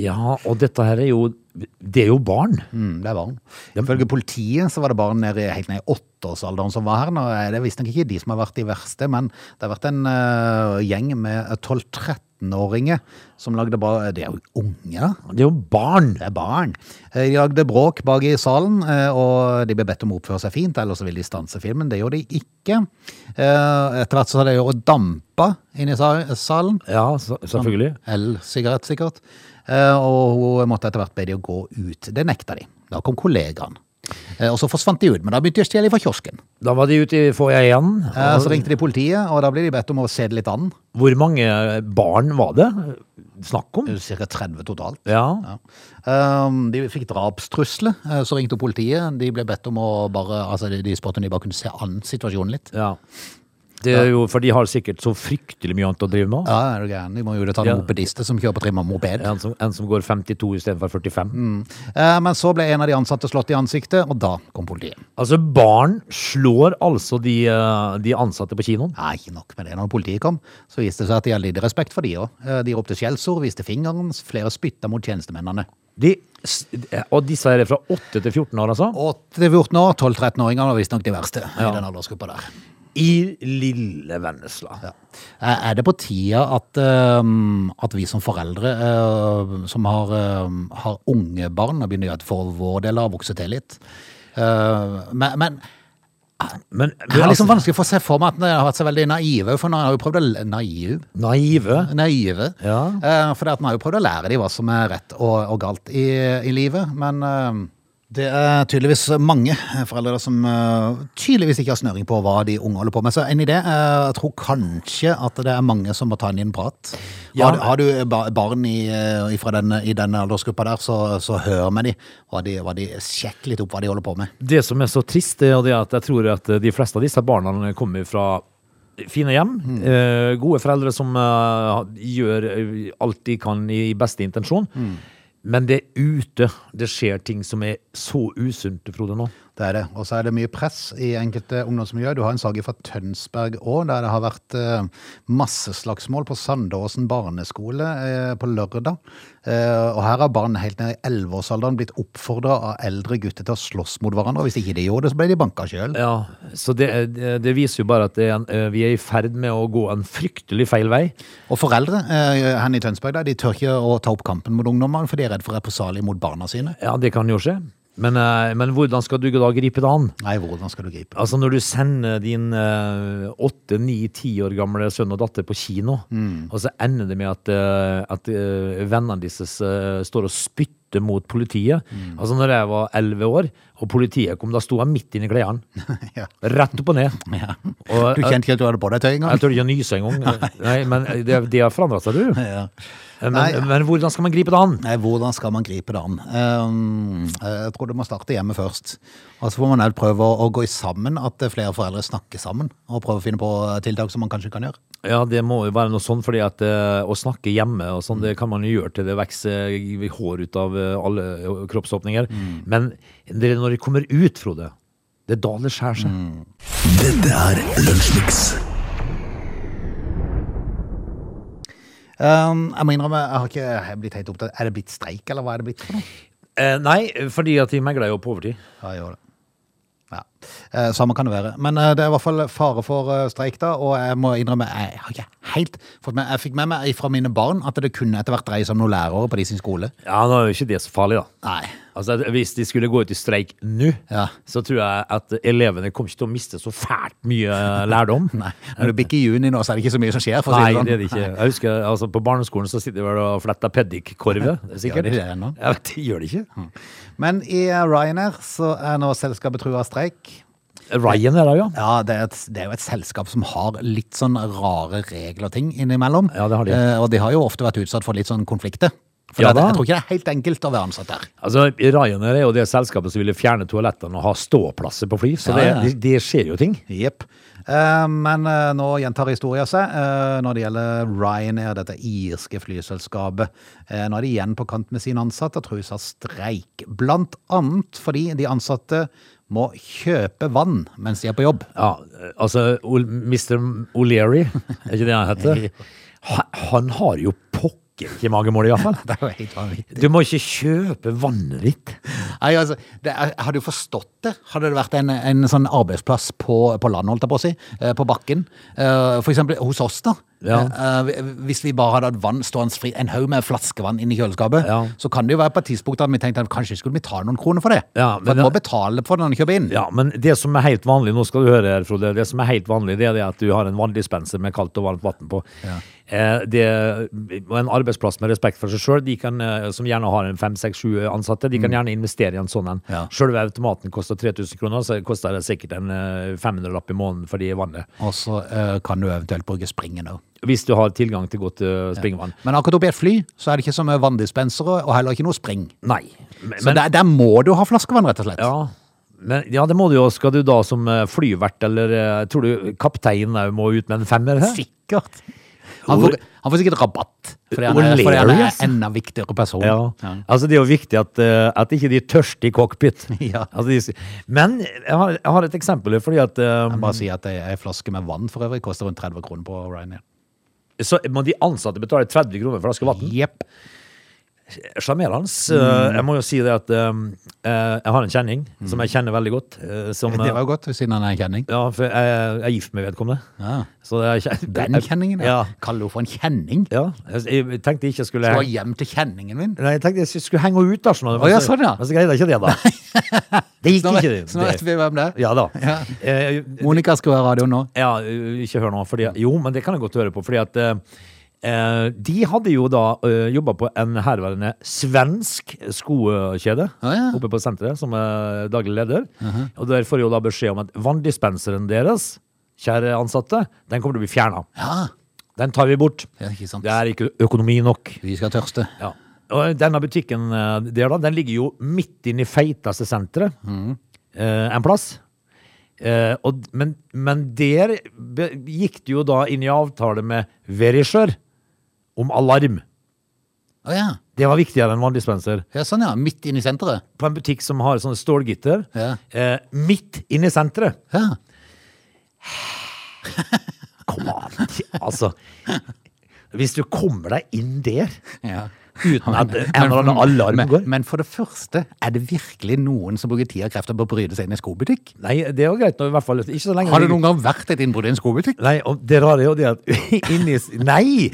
Ja, og dette her er jo Det er jo barn. Mm, det var hun. Ifølge politiet så var det barn nede, i- helt ned i åtteårsalderen som var her. Nå er det visstnok ikke de som har vært de verste, men det har vært en eh, gjeng med 12-13-åringer som lagde bare Det er jo unge, da. Det er jo barn! Det er barn. Eh, De lagde bråk bak i salen, eh, og de ble bedt om å oppføre seg fint, ellers så ville de stanse filmen. Det gjorde de ikke. Eh, Etter hvert så hadde de jo dampa inne i sa- salen. Ja, så, selvfølgelig. El-sigarett, sikkert. Eh, Og hun måtte etter hvert be de å gå ut. Det nekta de. Da kom kollegaen. Eh, Og så forsvant de ut, men da begynte de å stjele fra kiosken. Da var de ute i foajeen. Eh, Så ringte de politiet, og da ble de bedt om å se det litt an. Hvor mange barn var det snakk om? Ca. 30 totalt. Ja. Ja. Ehm, de fikk drapstrusler, eh, så ringte politiet. De ble bedt om å bare, altså de, de spurte om de bare kunne se an situasjonen litt. ja. Det er jo, for de har sikkert så fryktelig mye annet å drive med. Ja, er du gæren? De må jo ta noen Ja. mopedister som kjøper trimma moped. En som, en som går 52 istedenfor 45. Eh, men så ble en av de ansatte slått i ansiktet, og da kom politiet. Altså, barn slår altså de, eh, de ansatte på kinoen. Nei, ikke nok med det. Når politiet kom, så viste det seg at de hadde litt respekt for de òg. De ropte skjellsord, viste fingeren, flere spytta mot tjenestemennene. De, s- og disse her er fra 8 til 14 år, altså. 8-14 år, 12-13-åringer var visstnok de verste i Ja. den aldersgruppa der. I lille Vennesla. Ja. Eh, Er det på tida at, ehm, at vi som foreldre eh, som har, ehm, har unge barn, og begynner jo at for vår del har vokse til litt? Eh, men, men Men, det er liksom altså, vanskelig for å se for meg at en har vært så veldig naive, for en har jo prøvd å l- naiv. naive Naive. Ja. Eh, for at en har jo prøvd å lære dem hva som er rett og, og galt i, i livet, men eh, Det er tydeligvis mange foreldre som eh, tydeligvis ikke har snøring på hva de unge holder på med. Så en idé eh, Jeg tror kanskje at det er mange som må ta en liten prat. Ja. Har, har du ba- barn i, eh, ifra den, i den aldersgruppa der, så, så hør med de. Hva de, hva de Sjekk litt opp hva de holder på med. Det som er så trist, det er jo det at jeg tror at de fleste av disse barna kommer fra fine hjem. Eh, gode foreldre som eh, gjør eh, alt de kan i beste intensjon. Men det er ute det skjer ting som er så usunt, Frode, nå. Det er det. Og så er det mye press i enkelte ungdomsmiljø. Du har en sage fra Tønsberg òg, der det har vært eh, masseslagsmål på Sandåsen barneskole eh, på lørdag. Eh, og her har barn helt ned i 11-årsalderen blitt oppfordra av eldre gutter til å slåss mot hverandre. Og hvis ikke de gjorde det, så ble de banka sjøl. Ja, så det, det det viser jo bare at det er en, eh, vi er i ferd med å gå en fryktelig feil vei. Og foreldre eh, her i Tønsberg der, de tør ikke å ta opp kampen mot ungdommene, for de er redd for represalier mot barna sine. Ja, det kan jo skje. Men, eh, men hvordan skal du da gripe det an? Nei, hvordan skal du gripe? Altså Når du sender din eh, åtte, ni, ti år gamle sønn og datter på kino, Mm. og så ender det med at, eh, at eh, vennene deres eh, står og spytter mot politiet. Mm. Altså når jeg var elleve år, og politiet kom, da sto jeg midt inni klærne. ja. Rett opp og ned. Ja. Og Du jeg, kjente ikke at du hadde på deg tøy jeg engang? tør ikke å nyse engang. Nei, men det, det har forandra seg, du. Ja. Nei. Men, men hvordan skal man gripe det an? Nei, hvordan skal man gripe det an? Ehm, jeg tror det må starte hjemme først. Og så får man helt prøve å, å gå i sammen, at eh, flere foreldre snakker sammen. Og prøve å finne på eh, tiltak som man kanskje kan gjøre. Ja, det må jo være noe sånn, fordi at eh, å snakke hjemme og sånn, det kan man jo gjøre til det vokser hår ut av eh, alle eh, kroppsåpninger. Men det er når de kommer ut, Frode, det er da det skjærer seg. Dette er Lunsjmix. Ehm, jeg må innrømme, jeg har ikke jeg har blitt helt opptatt. Er det blitt streik, eller hva er det blitt for noe? Eh, nei, fordi at de megler jo på overtid. Ja, jeg gjør det. Ja. Eh, samme kan det være. Men eh, det er i hvert fall fare for eh, streik, da. Og jeg må innrømme, jeg har ikke helt fått med Jeg fikk med meg fra mine barn at det kunne etter hvert dreie seg om noen lærere på de sin skole. Ja, nå er jo ikke det så farlig, da. Nei. Altså, at Hvis de skulle gå ut i streik nå, Ja. så tror jeg at elevene kommer ikke til å miste så fælt mye eh, lærdom. Nei. Når det bikker juni nå, så er det ikke så mye som skjer, for å si Nei, det sånn. det er det ikke. Jeg husker, altså På barneskolen så sitter de vel og fletter peddik-korve, Gjør sikkert. de det ennå? Jeg vet, gjør de ikke? Men i eh, Ryanair så er nå selskapet trua av streik. Ryan er det, ja. Ja, det er, et, det er jo et selskap som har litt sånn rare regler og ting innimellom. Ja, det har de. Eh, og de har jo ofte vært utsatt for litt sånn konflikter. For Ja det, da. jeg tror ikke det er helt enkelt å være ansatt der. Altså, Ryanair er jo det selskapet som ville fjerne toalettene og ha ståplasser på fly, så Ja, ja. Det, det, det skjer jo ting. Jepp. Eh, men eh, nå gjentar historia seg eh, når det gjelder Ryanair, dette irske flyselskapet. Eh, nå er de igjen på kant med sine ansatte og trues av streik. Blant annet fordi de ansatte må kjøpe vann mens de er på jobb. Ja, altså, Ol- Mr. O'Leary, er ikke det han heter? Han, han har jo pokker ikke magemål, iallfall. Det er jo helt vanvittig. Du må ikke kjøpe vannet ditt. Nei, altså, det, er- jeg hadde jo forstått det, hadde det vært en, en sånn arbeidsplass på, på land, holdt jeg på å si, eh, på bakken. Eh, For eksempel hos oss da. Ja. Eh, eh, Hvis vi bare hadde hatt vann stående fri, en haug med flaskevann inne i kjøleskapet, Ja. så kan det jo være på et tidspunkt at vi tenkte at kanskje skulle vi ta noen kroner for det. Ja, men for vi må det- betale for den når vi kjøper inn. Ja, men det som er helt vanlig, nå skal du høre her, Frode, det som er helt vanlig, det er det at du har en vanndispenser med kaldt og varmt vann på. Eh, det, og en arbeidsplass med respekt for seg sjøl, de kan, eh, som gjerne har en fem, seks, sju ansatte, de kan gjerne investere i en sånn en. Mm. Ja. Sjølve automaten koster 3000 kroner, så koster det sikkert en 500-lapp i måneden for det vannet. Og så eh, kan du eventuelt bruke springen også. Hvis du har tilgang til godt eh, springvann. Men akkurat oppi et fly, så er det ikke så mye vanndispensere, og heller ikke noe spring. Nei. Men, Så der, der må du ha flaskevann, rett og slett. Ja, men, ja, det må du jo. Skal du da som eh, flyvert, eller eh, tror du kapteinen òg må ut med en femmer? Hæ? Sikkert. Han får, han får sikkert rabatt, fordi han, er, O'Leary, fordi han er altså. enda viktigere person. Ja. Ja. Altså, det er jo viktig at, eh, at ikke de er tørste i cockpit. Ja. Altså, de, men jeg har, jeg har et eksempel, fordi at eh, Bare si at ei ei flaske med vann for øvrig koster rundt 30 kroner på Ryanair. Så må de ansatte betale 30 kroner for en flaske vann. Jepp. Sjarmerende. Eh, Jeg må jo si det at eh, eh, jeg har en kjenning som jeg kjenner veldig godt. eh, som, Mm. eh, Det var jo godt, siden han er en kjenning. ja, for jeg, jeg er gift med vedkommende. Ja. Så jeg kjen- Den kjenningen, ja. ja. Kaller du for en kjenning? ja. Jeg, jeg tenkte ikke jeg skulle Du var hjem til kjenningen min. Nei, jeg tenkte jeg skulle henge henne ut, da. Sånn, Å, ja, sånn, ja. Men så greide jeg ikke det, da. Det gikk Så nå ikke, vet, det. så nå vet vi hvem det er. Ja da. Ja. Eh, Monica skrur av radioen nå. ja, ikke hør nå. Fordi, jo, men det kan jeg godt høre på. Fordi at eh, Eh, de hadde jo da eh, jobba på en herværende svensk skokjede Ah, ja. oppe på senteret som eh, daglig leder. Og der får jo da beskjed om at vanndispenseren deres, kjære ansatte, den kommer til å bli fjerna. Ja, Den tar vi bort. Ja, ikke sant. Det er ikke økonomi nok. vi skal tørste. Ja. Og denne butikken eh, der da, den ligger jo midt inne i feiteste senteret Mm. eh, en plass. Eh, og, d- men, men der be, gikk det jo da inn i avtale med Verisjør om alarm. Å ja. Det var viktigere enn vanndispenser. ja, sånn ja. Midt inne i senteret. På en butikk som har sånne stålgitter, Ja. eh, midt inne i senteret. Ja. Kom an, altså. Hvis du kommer deg inn der Ja. uten at en eller annen alarm men, går men for det første, er det virkelig noen som bruker tid og krefter på å bryte seg inn i skobutikk? Nei, det er jo greit. nå, I hvert fall ikke så lenge Har det noen gang vært et innbrudd i en skobutikk? Nei, og det rare er jo det at inni s- Nei!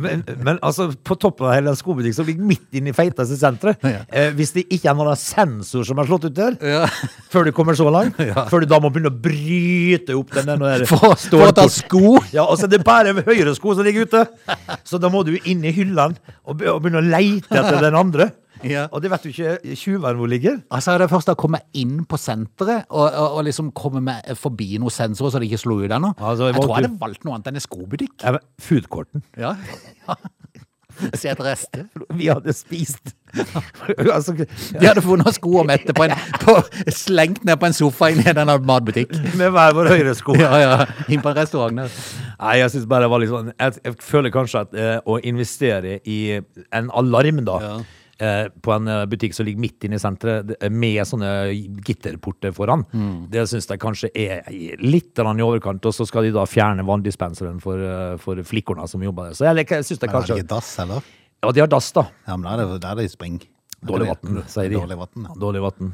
Men, men altså, på toppen av hele den skobutikken som ligger midt inne i feiteste senteret Ja. eh, Hvis det ikke er noen sensor som er slått ut der, Ja. før du kommer så langt, før du da må begynne å bryte opp den der For, for å ta stålporten. sko? Ja, og så er det bare høyre sko som ligger ute. Så da må du inn i hyllene og be- og begynne å leite etter den andre. Ja. Og det vet du ikke tjuveren hvor ligger. Altså, det første å komme inn på senteret, og, og, og liksom komme med, forbi noen sensorer så det ikke slo ut ennå. Altså, jeg tror jeg måtte- hadde valgt noe annet enn en skobutikk. Ja, men Foodcourten. Ja. Se etter rester. Vi hadde spist. altså, De hadde funnet sko og mette på en, på, slengt ned på en sofa inne i en matbutikk. med hver vår høyre sko. Ja, ja. Inn på en restaurant der. Nei, jeg synes bare det var litt sånn Jeg, jeg føler kanskje at eh, å investere i en alarm, da, Ja. eh, på en eh, butikk som ligger midt inne i senteret, det- med sånne gitterporter foran, det syns jeg kanskje er litt grann i overkant. Og så skal de da fjerne vanndispenseren for, eh, for flikkorna som jobber der. Så jeg, liker- jeg syns det kanskje dass, eller? Ja, de har dass, da. Ja, men da er det, da er det spring. Dårlig vann, sier de. Dårlig vann, ja. Dårlig vatten.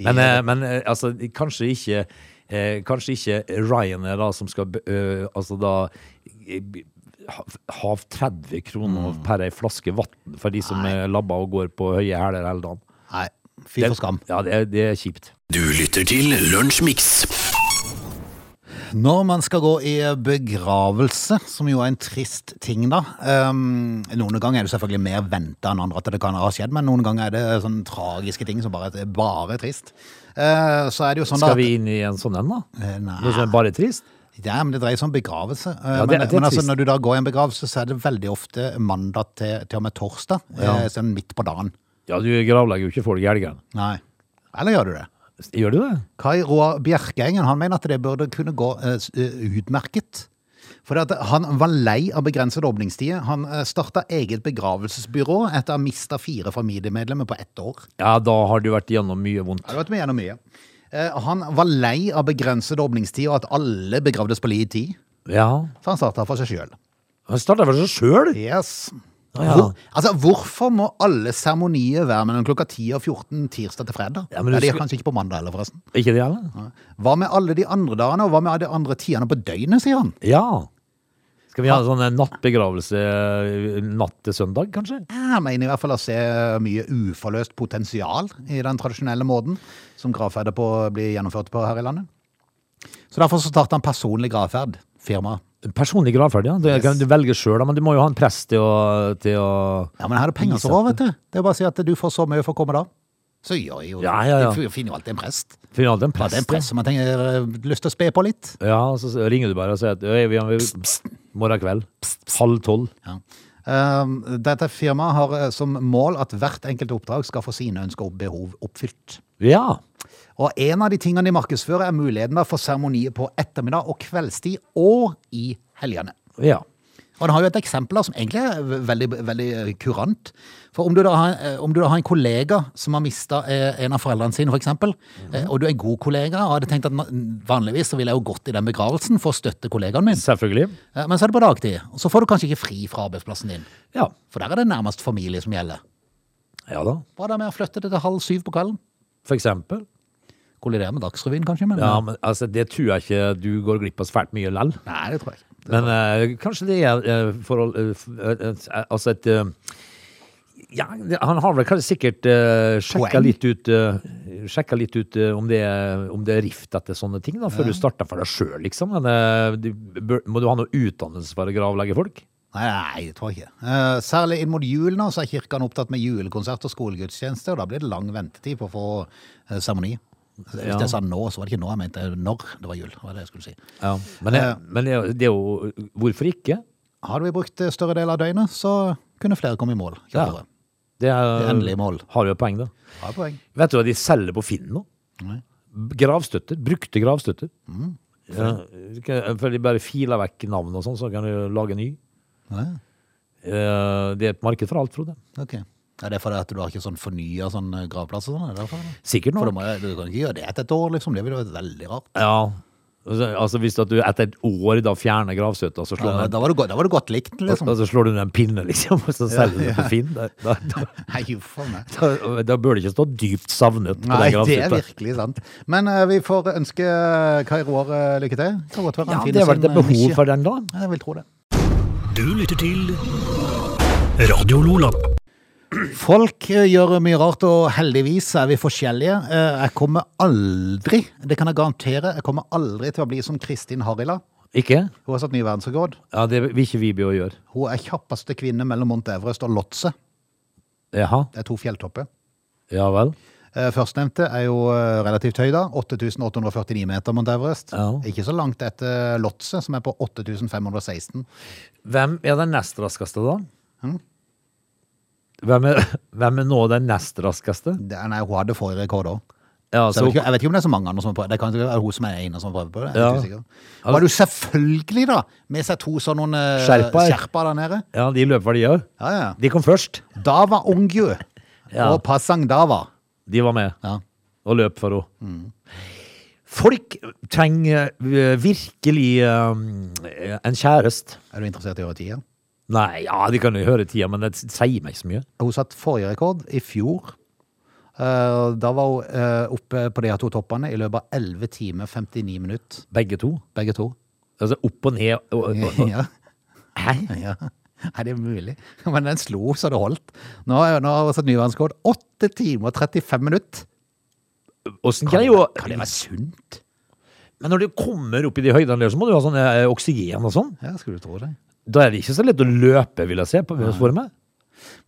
Men, eh, men eh, altså, kanskje ikke eh, Kanskje ikke Ryanair da, som skal be- eh, altså da eh, ha ha 30 kroner Mm. per ei flaske vann for de som eh, labber og går på høye hæler hele dagen. Nei, fy for skam. Ja, det, er- det er kjipt. Du lytter til Lunsjmix. Når man skal gå i begravelse, som jo er en trist ting, da ehm, Noen ganger er det selvfølgelig mer venta enn andre at det kan ha skjedd, men noen ganger er det sånne tragiske ting som bare, er bare er trist. Eh, så er det jo sånn da Skal at- vi inn i en sånn en, da? Eh, nei. Noe som er bare trist? Ja, men det dreier seg om begravelse. Eh, Ja, det- men det er men altså, trist. når du da går i en begravelse, så er det veldig ofte mandag til, til og med torsdag. eh, sånn midt på dagen. Ja, du gravlegger jo ikke folk i helgene. Nei. Eller gjør du det? Gjør du det? Kai Roar Bjerkeengen han mener at det burde kunne gå eh, s- eh, utmerket. For at han var lei av begrensede åpningstider. Han eh, starta eget begravelsesbyrå etter å ha mista fire familiemedlemmer på ett år. Ja, da har du vært gjennom mye vondt. Ja, Det har vært mye gjennom mye. Eh, Han var lei av begrensede åpningstider og at alle begravdes på li tid. Ja. Så han starta for seg sjøl. Han starta for seg sjøl! Yes. Å, ja. Hvor, altså, hvorfor må alle seremonier være mellom klokka 10 og 14 tirsdag til fredag? Ja, Ja, men du det er skal- kanskje ikke på mandag heller, forresten. Ikke det, eller? Hva med alle de andre dagene, og hva med de andre tidene på døgnet, sier han. Ja. Skal vi ha en sånn eh, nattbegravelse eh, natt til søndag, kanskje? Jeg mener i hvert fall å se mye uforløst potensial i den tradisjonelle måten som gravferder på blir gjennomført på her i landet. Så derfor så startet han personlig gravferd, firma. Personlig gravferd, ja. Det kan du velge sjøl, men du må jo ha en prest til å, til å Ja, men her er det penger som rår, vet du. Det er bare å si at du får så mye for å komme da. Så gjør jo, Ja, ja, ja. du finner jo alltid en prest. finne alt en Ja, det er en prest. prest som man tenker øh, lyst til å spe på litt. ja. ja, så s- ringer du bare og sier at «Øy, vi har morgen kveld. Halv tolv. Ja. Ehm, Dette firmaet har øh, som mål at hvert enkelt oppdrag skal få sine ønsker og behov oppfylt. Ja. Og en av de tingene de markedsfører er muligheten da for seremonier på ettermiddag og kveldstid og i helgene. Ja. Og den har jo et eksempel da, som egentlig er ve- veldig, veldig eh, kurant. For om du, da har, eh, om du da har en kollega som har mista en av foreldrene sine, for eksempel, eh, og du er en god kollega, og hadde tenkt at na- vanligvis så ville jeg jo gått i den begravelsen for å støtte kollegaen min, Selvfølgelig. Eh, men så er det på dagtid. Og så får du kanskje ikke fri fra arbeidsplassen din, Ja. for der er det nærmest familie som gjelder. Ja da. Hva da med å flytte det til halv syv på kvelden? For eksempel. Kolliderer med Dagsrevyen, kanskje? Men, Ja, men altså, det tror jeg ikke du går glipp av svært mye lell. Nei, det tror jeg ikke. Men eh, kanskje det er eh, forhold eh, f- eh, eh, Altså et eh, Ja, det- han har vel kanskje sikkert uh, sjekka Poeng. litt ut, eh, sjekket litt ut eh, om, det er, om det er rift etter sånne ting, da, før du starter for deg sjøl, liksom. Men, eh, du, bør, må du ha noe utdannelse for å gravlegge folk? Nei, det tror jeg ikke. Eh, Særlig inn mot jul nå, så er kirken opptatt med julekonsert og skolegudstjeneste, og da blir det lang ventetid på å få eh, seremoni. Ja. Hvis jeg sa nå, så var det ikke nå jeg mente, når det var jul, var det jeg skulle si. Ja. Men, det, men det, er jo- det er jo Hvorfor ikke? Hadde vi brukt eh, større del av døgnet, så kunne flere komme i mål. Ja. Eh. kjappere. Det er, Det er endelig mål. Har jo et poeng, da. Ja, poeng. Vet du hva de selger på Finn nå? Nei. Mm. Gravstøtter. Brukte gravstøtter. Ja, for de bare filer vekk navn og sånn, så kan du lage ny. Ja, Eh, Det er et marked for alt, Frode. ok. Er det fordi at du har ikke sånn fornya sånn eh, gravplass og sånn? er det derfor, eller? Sikkert For du, nå. må, du kan ikke gjøre det etter et år, liksom. Det ville vært veldig rart. Ja. Altså Hvis at du etter et år da fjerner gravstøtta, så slår, Da du, da var det, godt- da var det godt likt, en- liksom. og så slår du ned en pinne, liksom, og så selger du det på Finn. Da, da, da, Nei, uff a meg. da, da bør det ikke stå dypt savnet på Nei, den det er gravstøtta. virkelig sant. Men eh, vi får ønske Kai Roar eh, lykke til. Kan godt være Ja, han det finner er vel sin, et eh, behov nisje. for den, da. Ja, Jeg vil tro det. Du lytter til Radio Lola. Folk eh, gjør mye rart, og heldigvis er vi forskjellige. Eh, Jeg kommer aldri, det kan jeg garantere, jeg kommer aldri til å bli som Kristin Harila. Ikke? Hun har satt ny verdensrekord. Ja, Det vil ikke vi be å gjøre. Hun er kjappeste kvinne mellom Mount Everest og Lotse. Jaha. Det er to fjelltopper. Ja vel. Eh, Førstnevnte er jo eh, relativt høy, da. 8849 meter Mount Everest. Ja. Ikke så langt etter Lotse, som er på 8516. Hvem er den nest raskeste, da? Hm? Hvem, er, hvem er nå den nest raskeste? Det, nei, hun hadde forrige rekord òg. Så Ja, jeg, så, vet ikke, jeg vet ikke om det er så mange andre som prøver Det kan ikke være hun som er ene som prøver på det. Jeg er Ja. ikke sikker. Var det jo selvfølgelig, da, med seg to sånne noen eh, Skjerper. skjerper der nede. ja de løper hva de gjør. Ja, ja. De kom først. Dava Ongju Ja. og Pasang Dava. De var med Ja. og løp for henne. Hm. Folk trenger eh, virkelig eh, en kjæreste. Er du interessert i å gjøre tida? Nei, ja, de kan jo høre tida, men det sier meg ikke så mye. Hun satt forrige rekord i fjor. Eh, da var hun eh, oppe på de her to toppene i løpet av 11 timer 59 minutter, Begge to. begge to. Altså opp og ned. Og, og, og. ja. Hæ? Ja. Er det er mulig? Men den slo så det holdt. Nå, er- nå har hun satt ny verdenskord. 8 timer og 35 minutter. Åssen sånn greier jo Kan det være sunt? Men når du kommer opp i de høydene der, så må du ha sånn eh, oksygen og sånn. Ja, skulle du tro det. Da er det ikke så lett å løpe, vil jeg se, på for meg.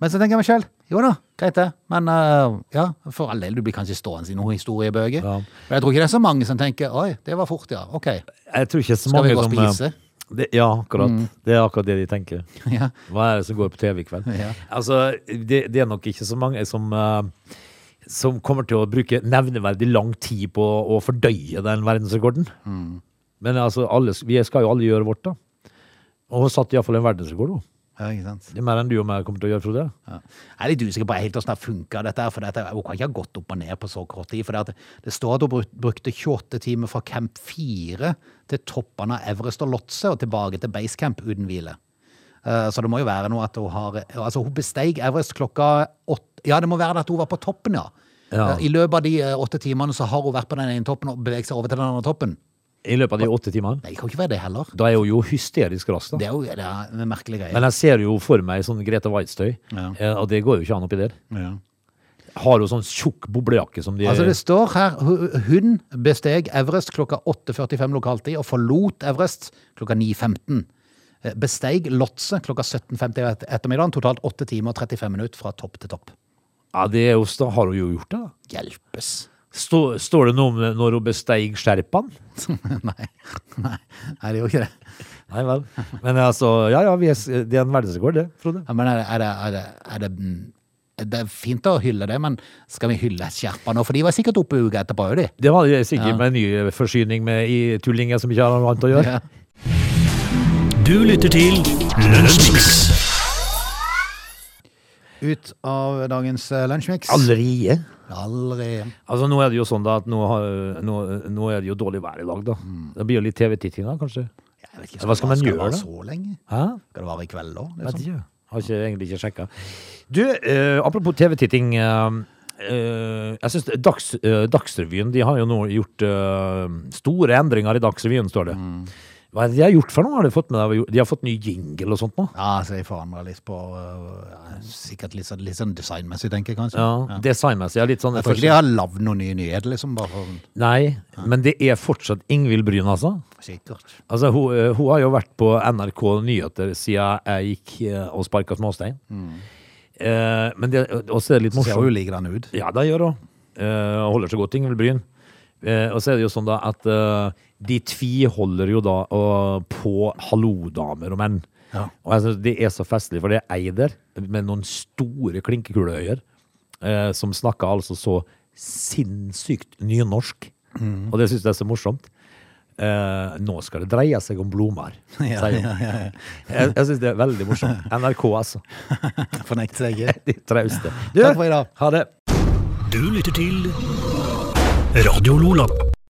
Men så tenker jeg meg selv, jo da, greit det. Men eh, ja, for all del, du blir kanskje stående i noen historiebøker. Ja. Men jeg tror ikke det er så mange som tenker, oi, det var fort, ja, ok. Jeg tror ikke så Skal mange vi gå og som, eh, spise? Mm. Det, ja, akkurat. Det er akkurat det de tenker. Ja. Hva er det som går på TV i kveld? Ja. Altså, det, det er nok ikke så mange som eh, som kommer til å bruke nevneverdig lang tid på å, å fordøye den verdensrekorden. Mm. Men altså, alle, vi skal jo alle gjøre vårt, da. Og hun satte iallfall en verdensrekord. hun. Ja, ikke sant. Det er mer enn du og meg kommer til å gjøre, Frode. Ja. Jeg er litt usikker på helt hvordan det funker dette her, for dette, hun kan ikke ha gått opp og ned på så kort tid, for det, at det står at hun bruk- brukte 28 timer fra Camp 4 til toppene av Everest og Lotse og tilbake til Basecamp uten hvile. Eh, Så det må jo være noe at hun har Altså, hun besteig Everest klokka åtte Ja, det må være det at hun var på toppen, ja. Ja. Eh, I løpet av de eh, åtte timene så har hun vært på den ene toppen og beveget seg over til den andre toppen. I løpet av de åtte timene. Nei, det kan ikke være det heller. Da er hun jo hysterisk rask, da. Det er jo det er en merkelig greie. Men jeg ser jo for meg sånn Grete Waitz-tøy, Ja. eh, og det går jo ikke an oppi der. ja. Har hun sånn tjukk boblejakke som de Altså Det står her hu- hun besteg Everest klokka 8.45 lokaltid og forlot Everest klokka 9.15. Eh, Besteig Lotse klokka 17.50 et- ettermiddagen. Totalt 8 timer og 35 minutter fra topp til topp. Ja, det er jo, da har hun jo gjort det, da. Hjelpes. Stå, står det noe om det når hun besteig Sherpaen? nei. nei, nei, det er jo ikke det. Nei vel. Men altså, ja ja, vi er, s- det er en verdensrekord, det, Frode. Ja, men er det, er det, er det, er det mm, det er fint å hylle det, men skal vi hylle Sherpa nå? For de var sikkert oppe uka etterpå, jo de. Det var det sikkert med en ny forsyning med i tullinger som ikke har noe annet å gjøre. Ja. Du lytter til Lunsjmix. Ut av dagens eh, lunsjmix. Allerede? Allerede. Altså, nå er det jo sånn da at nå, har, nå, nå er det jo dårlig vær i dag, da. Det blir jo litt TV-titting da, kanskje? Jeg vet ikke, Hva skal man det gjøre, være da? Så lenge? Hæ? Skal det vare i kveld liksom? òg? Vet ikke. Sånn. Har ikke, egentlig ikke sjekka. Du, eh, apropos TV-titting. eh, eh, jeg synes det- Dags, Mm. eh, Dagsrevyen de har jo nå gjort eh, store endringer i Dagsrevyen, står det. Hva er det de har gjort for noe? Har de fått, med deg? de har fått ny jingle og sånt nå? Ja, så jeg forandrer litt på øh, ja, Sikkert litt sånn, litt sånn designmessig, tenker jeg kanskje. Ja, Ja. Designmessig. ja, Litt sånn Jeg tror ikke de har lagd noen nye nyheter, liksom. Bare for Nei, men det er fortsatt Ingvild Bryn, altså. sikkert. Altså, hun, eh, hun har jo vært på NRK Nyheter siden jeg gikk eh, og sparka småstein. Eh, men det, og så er det litt Mm. Ser jo morsomt. likedan ut. Ja, det gjør hun. Eh, og holder seg godt, Ingvild Bryn. Eh, og så er det jo sånn da at eh, de tviholder jo da eh, på hallo-damer og menn. Ja. Og jeg synes det er så festlig, for det er ei der med noen store klinkekuleøyer eh, som snakker altså så sinnssykt nynorsk. Mm. Og det syns jeg er så morsomt. Eh, nå skal det dreie seg om blomster, Ja, sier hun. ja, ja, ja. Jeg, jeg syns det er veldig morsomt. NRK, altså. Fornekter seg ikke. De trauste. Takk for i dag. Ha det. Du lytter til Radio Lola.